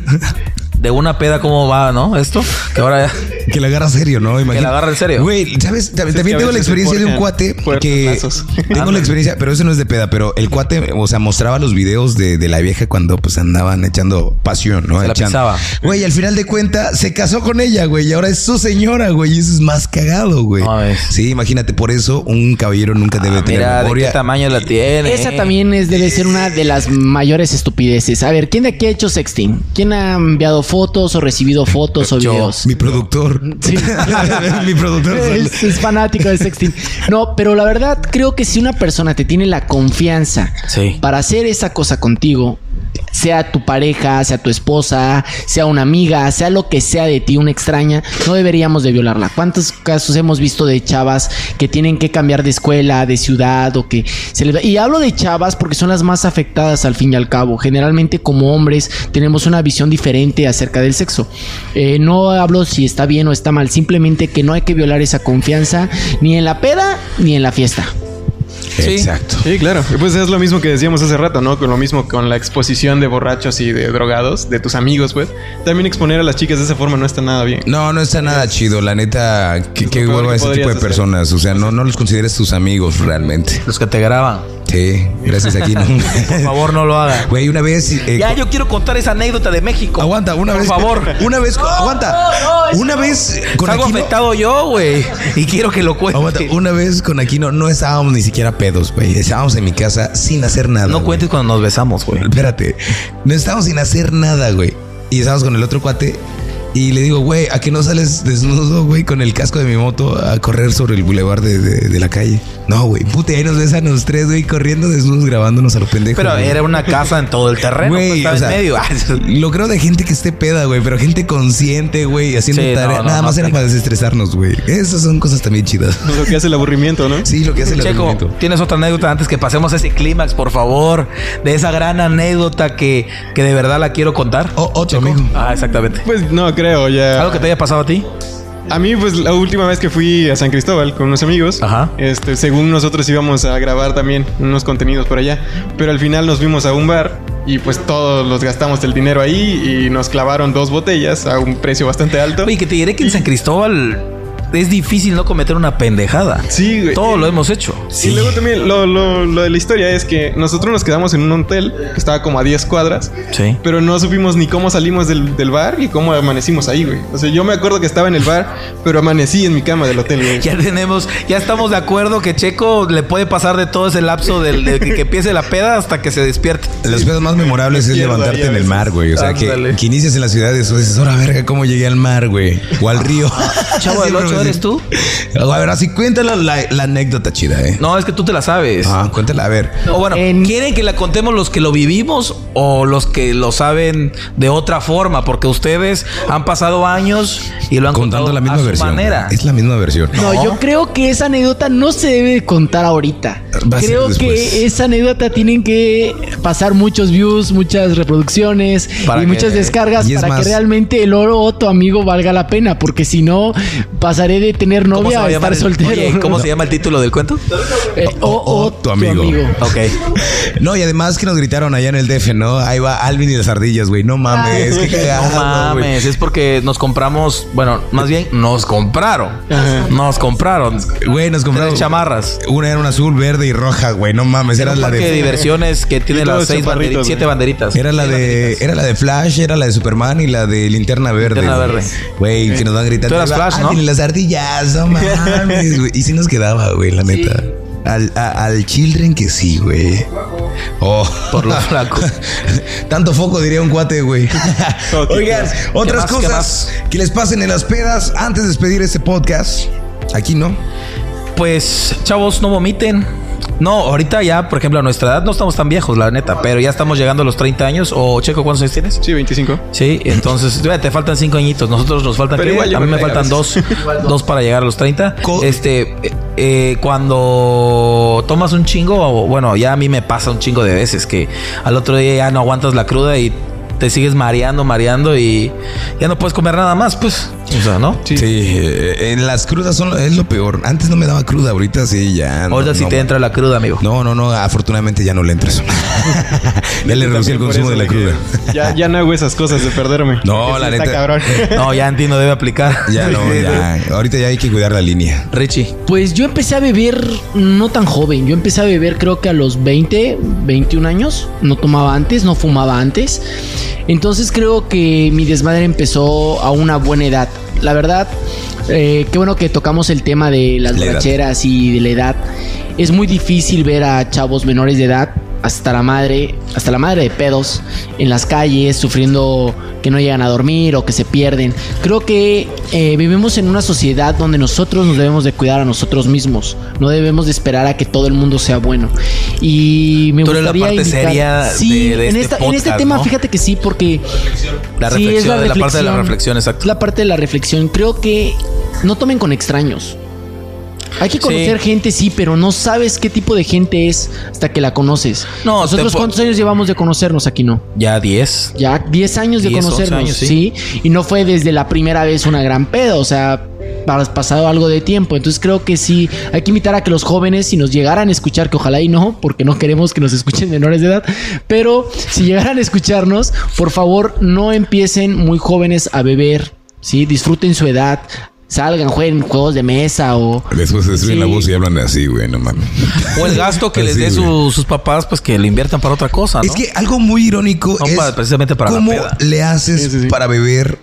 peda. De una peda, ¿cómo va, no? Esto, que ahora
Que la agarra serio, ¿no? Imagínate.
la agarra en serio.
Güey, ¿sabes? También,
que
también
a
tengo la
veces se
experiencia de un
forjan
cuate
fuertes
que...
lazos.
Tengo la experiencia, pero eso no es de peda, pero el cuate, o sea, mostraba los videos de, de la vieja cuando pues andaban echando pasión, ¿no?
Se la
Echando.
pisaba.
Güey, al final de cuenta se casó con ella, güey, y ahora es su señora, güey, y eso es más cagado, güey.
A ver.
Sí, imagínate, por eso un caballero nunca debe
Ah,
tener
Mira, ¿de
memoria.
qué tamaño la tiene?
Esa también es, debe ser una de las mayores estupideces. A ver, ¿quién de aquí ha hecho sexting? ¿Quién ha enviado fotos o recibido fotos o
Yo.
videos?
Mi productor.
Sí.
(laughs) Mi productor.
(laughs) Es, es fanático de sexting. No, pero la verdad creo que si una persona te tiene la confianza
Sí.
para hacer esa cosa contigo, sea tu pareja, sea tu esposa, sea una amiga, sea lo que sea de ti, una extraña, no deberíamos de violarla. ¿Cuántos casos hemos visto de chavas que tienen que cambiar de escuela, de ciudad o que se les... Y hablo de chavas porque son las más afectadas al fin y al cabo. Generalmente como hombres tenemos una visión diferente acerca del sexo. Eh, no hablo si está bien o está mal, simplemente que no hay que violar esa confianza ni en la peda ni en la fiesta.
Sí.
Exacto.
Sí, claro. Pues es lo mismo que decíamos hace rato, ¿no? Con lo mismo con la exposición de borrachos y de drogados, de tus amigos, pues. También exponer a las chicas de esa forma no está nada bien.
No, no está nada chido. La neta, que,
lo
que
peor
vuelva
que
ese tipo
podrías
de
hacer.
personas. O sea, no, no los consideres tus amigos realmente.
Los que te graban.
Sí, gracias aquí. ¿no?
(laughs) Por favor, no lo hagan.
Güey, una vez. eh,
Ya, yo quiero contar esa anécdota de México.
Aguanta, una
Por
vez.
favor.
Una vez. aguanta.
no, no, eso
una vez con
Salgo
Aquino.
afectado yo, güey. Y quiero que lo cuente.
aguanta, una vez con Aquino no estábamos ni siquiera pedos, güey. Estábamos en mi casa sin hacer nada.
No
güey.
cuentes cuando nos besamos, güey.
Espérate. No estábamos sin hacer nada, güey. Y estábamos con el otro cuate. Y le digo, güey, ¿a qué no sales desnudo, güey, con el casco de mi moto a correr sobre el bulevar de, de- de la calle? No, güey, puta, y ahí nos besan los tres, güey, corriendo desnudos, grabándonos a los pendejos.
Pero era una casa en todo el terreno. pues,
Güey,
estaba
o sea,
en medio.
Lo creo de gente que esté peda, güey, pero gente consciente, güey, haciendo
Sí, no,
tarea.
no,
Nada
no
más era
aplica.
para desestresarnos, güey. Esas son cosas también chidas.
Lo que hace el aburrimiento, ¿no?
Sí, lo que hace el
Checo,
argumento.
tienes otra anécdota antes que pasemos a ese clímax, por favor. De esa gran anécdota que, que de verdad la quiero contar.
Oh.
O- otro Oh, amigo.
Ah, exactamente.
Pues no creo, ya.
¿Algo que te haya pasado a ti?
A mí, pues la última vez que fui a San Cristóbal con unos amigos,
Ajá.
este, según nosotros íbamos a grabar también unos contenidos por allá, pero al final nos vimos a un bar y pues todos los gastamos el dinero ahí y nos clavaron dos botellas a un precio bastante alto.
Oye, que te diré que en San Cristóbal es difícil no cometer una pendejada.
Sí, güey.
Todo lo hemos hecho.
Y luego también lo, lo- lo de la historia es que nosotros nos quedamos en un hotel que estaba como a 10 cuadras,
Sí.
pero no supimos ni cómo salimos del, del bar y cómo amanecimos ahí, güey. O sea, yo me acuerdo que estaba en el bar, pero amanecí en mi cama del hotel, güey.
Ya tenemos, ya estamos de acuerdo que Checo le puede pasar de todo ese lapso del, de que, que empiece la peda hasta que se despierte.
Las cosas más memorables es
Izquierda,
levantarte
ya
en el
ves.
mar, güey. O sea, que,
Ándale.
que inicias en la ciudad y después dices, ahora verga, ¿cómo llegué al mar, güey? O al río.
(laughs) Chavo del
Siempre
ocho,
me-
¿eres tú?
A ver, así cuéntala la, la anécdota chida, ¿eh?
No, es que tú te la sabes.
Ah, cuéntala, a ver.
O bueno,
En-
¿quieren que la contemos los que lo vivimos o los que lo saben de otra forma? Porque ustedes han pasado años y lo han
Contando
contado
la misma
a su
versión.
manera.
Es la misma versión.
No, yo creo que esa anécdota no se debe de contar ahorita.
Va a ser
Creo
después.
que esa anécdota tienen que pasar muchos views, muchas reproducciones
Para
y
que-
muchas descargas
y es
para
más-
que realmente el oro o tu amigo valga la pena, porque si no pasaré de tener
¿Cómo se
novia
va a
a
llamar
estar
el-
soltero.
Oye, ¿Cómo
(laughs)
se llama el título del cuento?
Eh, o,
o- tu amigo.
Ok.
No, y además que nos gritaron allá en el DF, ¿no? Ahí va Alvin y las ardillas, güey. No mames. qué cagado,
No
Ah, güey.
mames, es porque nos compramos, bueno, más bien nos compraron. Nos compraron.
Güey, nos compraron.
Tres chamarras.
Una era una azul, verde y roja, güey. No mames. Era
Un
la
parque de
de.
diversiones que tiene
Y
las
todos
seis
chaparritos,
banderitas,
güey.
siete banderitas.
Era la de, era la de Flash, era la de Superman y la de Linterna Verde.
Linterna
güey.
Verde.
Güey, que nos van gritando.
Tú eras
"Ahí va
Flash, ¿no?
Alvin y las ardillas,
(laughs)
no mames, güey. Y sí nos quedaba, güey, la neta. Al, a- al Children que sí, güey. Oh.
Por lo flaco.
(laughs) Tanto foco diría un cuate,
(laughs)
güey.
Todo tipo.
Oigan, otras
más, qué
cosas que les pasen en las pedas antes de despedir este podcast. Aquí no.
Pues, chavos, no vomiten. No, ahorita ya, por ejemplo, a nuestra edad no estamos tan viejos, la neta, pero ya estamos llegando a los 30 años. O Checo, ¿cuántos años tienes?
Sí, 25.
Sí, entonces (laughs) todavía te faltan cinco añitos. Nosotros nos faltan.
Pero
¿qué?
igual yo
a mí
me
me
pego a
faltan dos, dos para llegar a los 30.
Co-
Este, eh, eh, cuando tomas un chingo, o, bueno, ya a mí me pasa un chingo de veces que al otro día ya no aguantas la cruda y te sigues mareando, mareando y ya no puedes comer nada más, pues. O sea, ¿no?
Sí, eh, en las crudas son, lo- es lo peor. Antes no me daba cruda, ahorita sí, ya. no,
Ahorita sí
no,
te entra la cruda, amigo.
No, no, no, afortunadamente ya no le
(laughs)
entras. ya le reducí el consumo de la cruda.
Ya, ya no hago esas cosas de perderme.
No,
Eso
la
está
neta.
cabrón.
(laughs)
(laughs)
No, ya Andy no debe aplicar.
Ya no, ya. Ahorita ya hay que cuidar la línea.
Richie.
Pues yo empecé a beber no tan joven, yo empecé a beber creo que a los 20, 21 años, no tomaba antes, no fumaba antes. Entonces creo que mi desmadre empezó a una buena edad. La verdad, eh, qué bueno que tocamos el tema de las
La edad.
borracheras y de la edad. Es muy difícil ver a chavos menores de edad hasta la madre, hasta la madre de pedos en las calles, sufriendo que no llegan a dormir o que se pierden. Creo que eh, vivimos en una sociedad donde nosotros nos debemos de cuidar a nosotros mismos. No debemos de esperar a que todo el mundo sea bueno. Y me
Tú eres la
gustaría
parte
invitar-
seria de-
Sí,
de
en,
este
esta- en este
podcast,
tema,
¿no?
fíjate que sí, porque
La
Sí,
reflexión,
es
la, parte de la
la reflexión.
reflexión,
es
exacto.
la parte de la reflexión. Creo que no tomen con extraños. Hay que conocer
Sí.
gente, sí, pero no sabes qué tipo de gente es hasta que la conoces.
No,
Nosotros
te po-
cuántos años llevamos de conocernos aquí, ¿no?
Ya 10.
Ya 10 años de
10, 11
conocernos,
años,
sí.
sí.
Y no fue desde la primera vez una gran pedo, o sea, has pasado algo de tiempo. Entonces creo que sí, hay que invitar a que los jóvenes, si nos llegaran a escuchar, que ojalá y no, porque no queremos que nos escuchen menores de edad, pero si llegaran a escucharnos, por favor no empiecen muy jóvenes a beber, sí, disfruten su edad. Salgan, jueguen juegos de mesa o... (laughs)
Después se destruyen
Sí.
la voz y hablan así, güey, no mames.
O el
(laughs)
gasto que les
Así,
dé su-
güey.
sus papás, pues que lo inviertan para otra cosa. Ah, ¿no?
Es que algo muy irónico
No,
es
para- precisamente para la
cómo
peda.
le haces
Sí, sí, sí.
para beber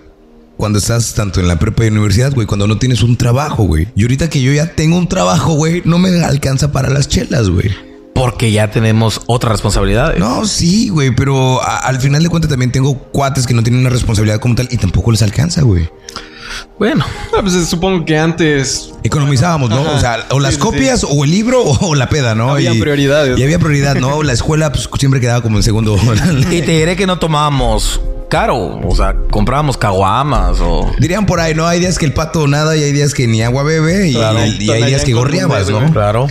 cuando estás tanto en la prepa y universidad, güey, cuando no tienes un trabajo, güey. Y ahorita que yo ya tengo un trabajo, güey, no me alcanza para las chelas, güey.
Porque ya tenemos otras responsabilidades.
No, sí, güey, pero a- al final de cuentas también tengo cuates que no tienen una responsabilidad como tal y tampoco les alcanza, güey.
Bueno,
Ah, pues, supongo que antes
Economizábamos, ¿no?
Ajá.
O sea, o las
Sí, sí,
copias, o el libro, o, o la peda, ¿no?
Había
y,
prioridades.
Y había prioridad, ¿no? La escuela pues, siempre quedaba como en segundo. (laughs)
y te diré que no tomábamos caro. O sea, comprábamos caguamas o.
Dirían por ahí, ¿no? Hay días que el pato nada y hay días que ni agua bebe y,
Claro.
y- y hay días que gorreabas, ¿no?
Claro.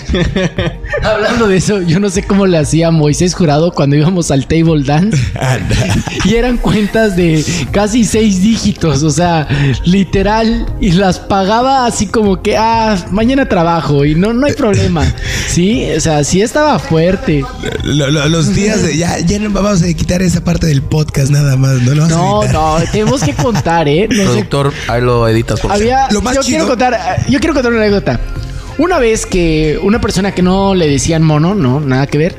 Hablando de eso, yo no sé cómo le hacía Moisés Jurado cuando íbamos al table dance.
Ah,
(laughs) y eran cuentas de casi seis dígitos, o sea, literal, y las pagaba así como que, ah, mañana trabajo y no, no hay
(laughs)
problema. Sí, o sea, sí estaba fuerte.
Lo- lo- los días de... Ya, ya no vamos a quitar esa parte del podcast nada más, ¿no? Lo vamos a
No,
editar.
no, tenemos que contar, ¿eh? No
(laughs)
sé
Productor, ahí lo editas por
Había,
Lo más
yo
chido-
quiero contar, yo quiero contar una anécdota. Una vez que una persona que no le decían mono, no, nada que ver,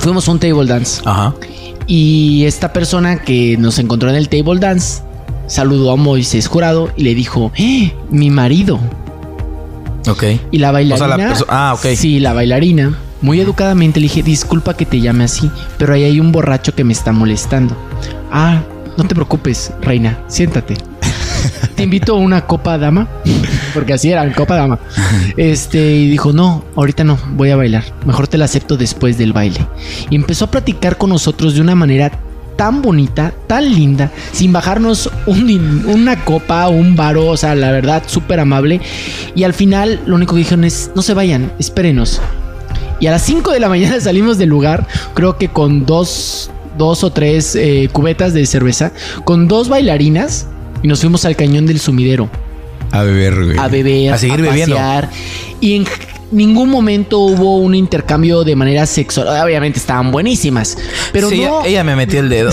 fuimos a un table dance
Ajá.
y esta persona que nos encontró en el table dance saludó a Moisés Jurado y le dijo, "¡Eh! mi marido.
Ok.
Y la
O sea,
bailarina.
la perso- ah, ok.
Sí, la bailarina. Muy educadamente le dije, disculpa que te llame así, pero ahí hay un borracho que me está molestando. Ah, no te preocupes, reina,
(laughs)
siéntate. Te invito a una copa dama, porque así eran, copa dama. Este, y dijo, no, ahorita no, voy a bailar. Mejor te la acepto después del baile. Y empezó a platicar con nosotros de una manera tan bonita, tan linda, sin bajarnos un din- una copa, un varo, o sea, la verdad, súper amable. Y al final lo único que dijeron es, no se vayan, espérenos. Y a las 5 de la (laughs) mañana salimos del lugar, creo que con dos, dos o tres eh, cubetas de cerveza, con dos bailarinas, y nos fuimos al cañón del sumidero
A beber, güey.
a beber,
A seguir
pasear.
bebiendo.
Y en ningún momento hubo un intercambio de manera sexual. Obviamente estaban buenísimas, pero
Sí,
no,
ella me metió el
(laughs)
dedo.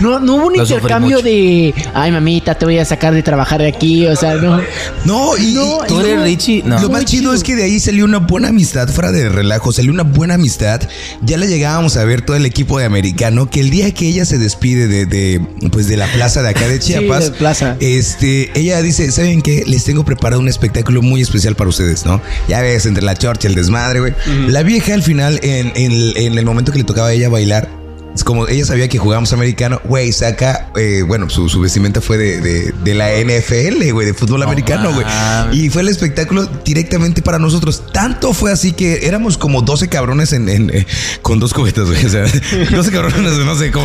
no, no hubo un
la sufrí
intercambio
mucho.
de, ay mamita, te voy a sacar de trabajar de aquí, o sea, no.
No, y...
No,
y-
¿Tú eres Richie? No.
Lo más
Muy
chido,
chido.
es que de ahí salió una buena amistad, fuera de relajo, salió una buena amistad. Ya la llegábamos a ver todo el equipo de americano, que el día que ella se despide de, de, pues de la plaza de acá de Chiapas,
de plaza.
este, ella dice, ¿saben qué? Les tengo preparado un espectáculo muy especial para ustedes, ¿no? Ya ves, entre la chorcha, el desmadre, güey. La vieja al final, en, en el- en el momento que le tocaba a ella bailar, es como ella sabía que jugábamos americano, güey, saca, eh, bueno, su, su vestimenta fue de, de- de la NFL, güey, de fútbol americano, güey.
mames.
Y fue el espectáculo directamente para nosotros. Tanto fue así que éramos como 12 cabrones en, en, eh, con dos cohetes, güey. O sea, (laughs) 12 cabrones, no sé cómo.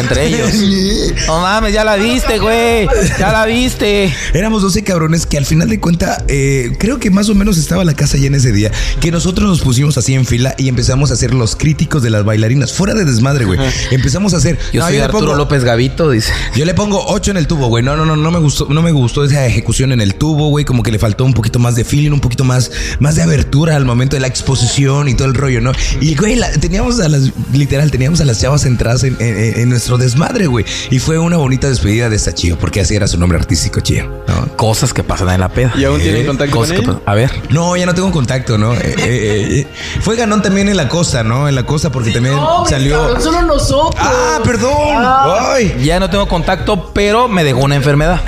(laughs)
entre ellos. No mames, ya la viste, güey. Ya la viste.
Éramos 12 cabrones que al final de cuenta, eh, creo que más o menos estaba la casa llena ese día, que nosotros nos pusimos así en fila y empezamos a ser los críticos de las bailarinas, fuera de desmadre, güey. Empezamos a hacer...
Yo
"No,
soy
le
Arturo
pongo-
López Gavito, dice.
Yo le pongo 8 en el tubo, güey. No, no, no, no me gustó, no me gustó esa ejecución en el tubo, güey. Como que le faltó un poquito más de feeling, un poquito más, más de abertura al momento de la exposición y todo el rollo, ¿no? Y güey, la- teníamos a las, literal, teníamos a las chavas entradas en, en- en nuestro desmadre, güey. Y fue una bonita despedida de esta Chío, porque así era su nombre artístico, Chío. ¿no?
Cosas que pasan en la peda.
¿Y aún tienen contacto
Cosas
con
que
él?
pasan- A ver.
No, ya no tengo contacto, ¿no? Eh, eh, eh, eh. Fue ganón también en la costa, ¿no? En la costa, porque también salió.
Solo los ojos.
Ah, perdón. Ay.
Ya no tengo contacto, pero me dejó una enfermedad.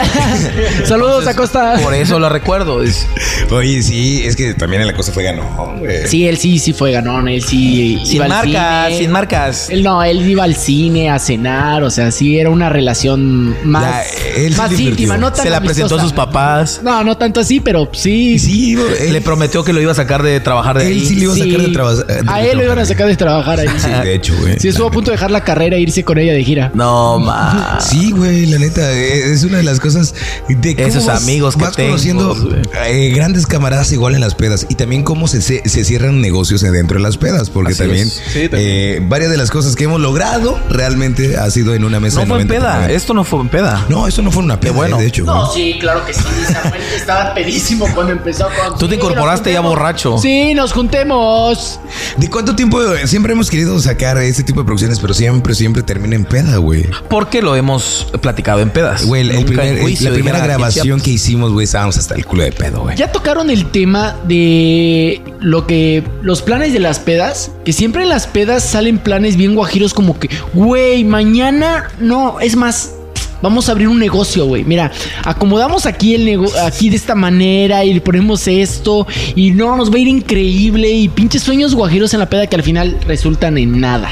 Saludos a Costa.
Por eso lo recuerdo. Es-
Oye, sí, es que también en la cosa fue ganón, güey.
Sí, él sí, sí fue ganón. Él sí.
Sin
iba al
marcas,
cine.
sin marcas.
Él no, él iba al cine a cenar. O sea, sí era una relación más,
La- él sí
más
divirtió.
íntima. No tan
Se la presentó a
amistosa.
sus papás.
No, no tanto así, pero sí.
Sí, él-
Le prometió que lo iba a sacar de trabajar de
Él
ahí. Ah.
sí le iba a sacar de
sí.
trabajar. de
A él lo iban a
trabajar.
sacar de trabajar ahí.
Sí, de hecho, güey.
Sí, estuvo a punto de dejar la carrera e irse con ella de gira.
No, ma.
Eh, Sí, güey, la neta, eh, es una de las cosas de cómo
Esos
vas-
amigos que
vas
tengo,
conociendo
güey.
eh, grandes camaradas igual en las pedas y también cómo se, se, se cierran negocios adentro de las pedas, porque
Así
también,
es.
Sí, también.
eh, varias de las cosas que hemos logrado realmente ha sido en una mesa.
No
de
fue en
90
peda.
personas.
Esto no fue en peda.
No, eso no fue una peda,
bueno.
eh, de hecho. güey.
sí, claro que sí. Samuel estaba pedísimo cuando empezó con.
Tú te incorporaste ya borracho.
Sí, nos juntemos.
¿De cuánto tiempo eh, siempre hemos querido sacar este tipo de producciones, pero siempre, siempre termina en peda, güey?
Porque lo hemos platicado en pedas.
Güey, el
Nunca
primer-
en
el-
juicio,
la primera
dijera,
grabación que hicimos, güey, estábamos hasta el culo de pedo, güey.
Ya tocaron el tema de lo que. los planes de las pedas. Que siempre en las pedas salen planes bien guajiros, como que, güey, mañana. No, es más. Vamos a abrir un negocio, güey. Mira, acomodamos aquí el nego aquí de esta manera y le ponemos esto y no nos va a ir increíble y pinches sueños guajiros en la peda que al final resultan en nada.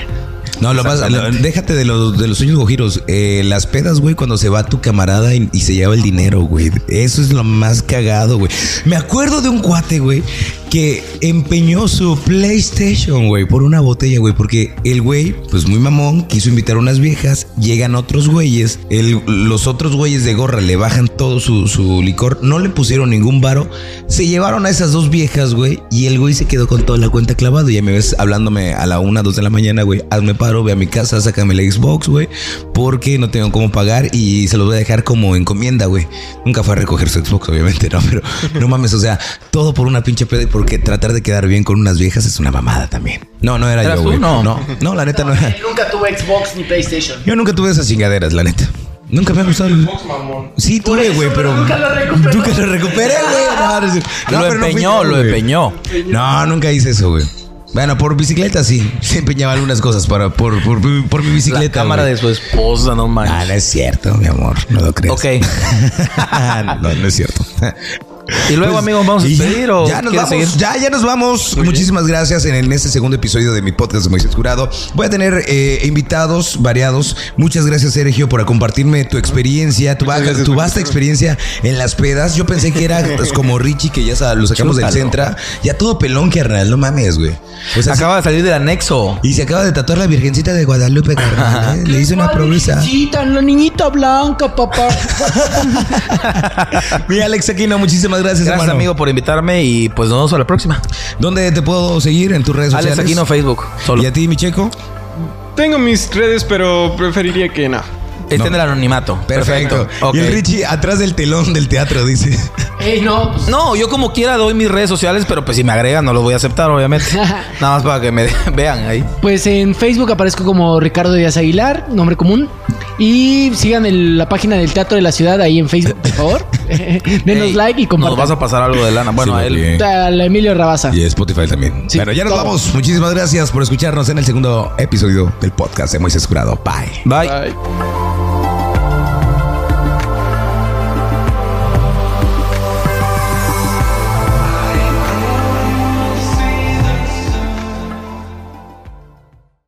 No, lo más, lo- déjate de los, de los sueños gojiros. Eh, las pedas, güey, cuando se va tu camarada y, y se lleva el dinero, güey. Eso es lo más cagado, güey. Me acuerdo de un cuate, güey, que empeñó su PlayStation, güey, por una botella, güey. Porque el güey, pues muy mamón, quiso invitar a unas viejas, llegan otros güeyes, el- los otros güeyes de gorra le bajan todo su, su licor, no le pusieron ningún varo, se llevaron a esas dos viejas, güey, y el güey se quedó con toda la cuenta clavado. Ya me ves hablándome a la una, dos de la mañana, güey, hazme paro, ve a mi casa, sácame la Xbox, güey, porque no tengo cómo pagar y se los voy a dejar como encomienda, güey. Nunca fue a recoger su Xbox, obviamente, no, (laughs) pero no mames, o sea, todo por una pinche peda y porque tratar de quedar bien con unas viejas es una mamada también. No, no era
¿Eras
yo,
tú?
güey.
No.
no, no, la neta no era.
(laughs) Nunca tuve Xbox ni PlayStation.
Yo nunca tuve esas chingaderas, la neta. Nunca me ha gustado el Sí, tuve, güey, pero. Nunca lo recuperé. Nunca lo recuperé, güey. No, no es cierto. No,
Lo
pero no fui
empeñó,
yo,
lo
güey.
empeñó.
No, nunca hice eso, güey. Bueno, por bicicleta sí. Se empeñaba algunas cosas para, por, por, por mi
La
bicicleta.
cámara
güey.
de su esposa, no
Ah,
manches.
no es cierto, mi amor. No lo crees.
Ok.
(laughs) no, no es cierto.
Y luego,
Pues,
amigos, vamos a
y ya-
despedir o
ya nos
quieres
vamos,
seguir?
ya, ya nos vamos. Muchísimas gracias en, en este segundo episodio de mi podcast de Moisés Jurado. Voy a tener eh, invitados variados. Muchas gracias, Sergio, por compartirme tu experiencia, tu, va- tu
gracias, Marquito.
vasta experiencia en las pedas. Yo pensé que era pues, como Richie, que ya sa- lo sacamos del
Chútalo.
Centra. Ya todo pelón, carnal, no mames, güey. O sea,
Acaba de salir del anexo.
Y se acaba de tatuar la Virgencita de Guadalupe, carnal. ¿eh? Le hice una promesa.
la niñita blanca, papá.
Mi Alex Aquino, muchísimas gracias,
Gracias,
hermano.
amigo, por invitarme y pues nos vemos a la próxima.
¿Dónde te puedo seguir en tus redes
Alex
sociales?
Aquino, Facebook. Solo.
¿Y a ti, mi checo?
Tengo mis redes, pero preferiría que no.
Está Este en el anonimato.
Perfecto.
Ok.
Y el Richie atrás del telón del teatro dice.
(laughs) Ey, no. pues,
No, yo como quiera doy mis redes sociales, pero pues si me agregan no los voy a aceptar,
(laughs)
obviamente. Nada más para que me (laughs) vean ahí.
Pues en Facebook aparezco como Ricardo Díaz Aguilar, nombre común. Y sigan el- la página del Teatro de la Ciudad ahí en Facebook, por favor. (laughs) Denos
Ey,
like y
Nos vas
compartan.
a pasar algo de lana. Bueno,
Sí,
a él.
bien.
A... Emilio Rabaza.
Y Spotify también.
Sí,
bueno, ya nos
todo.
vamos. Muchísimas gracias por escucharnos en el segundo episodio del podcast de Moisés Jurado. Bye.
Bye.
Bye.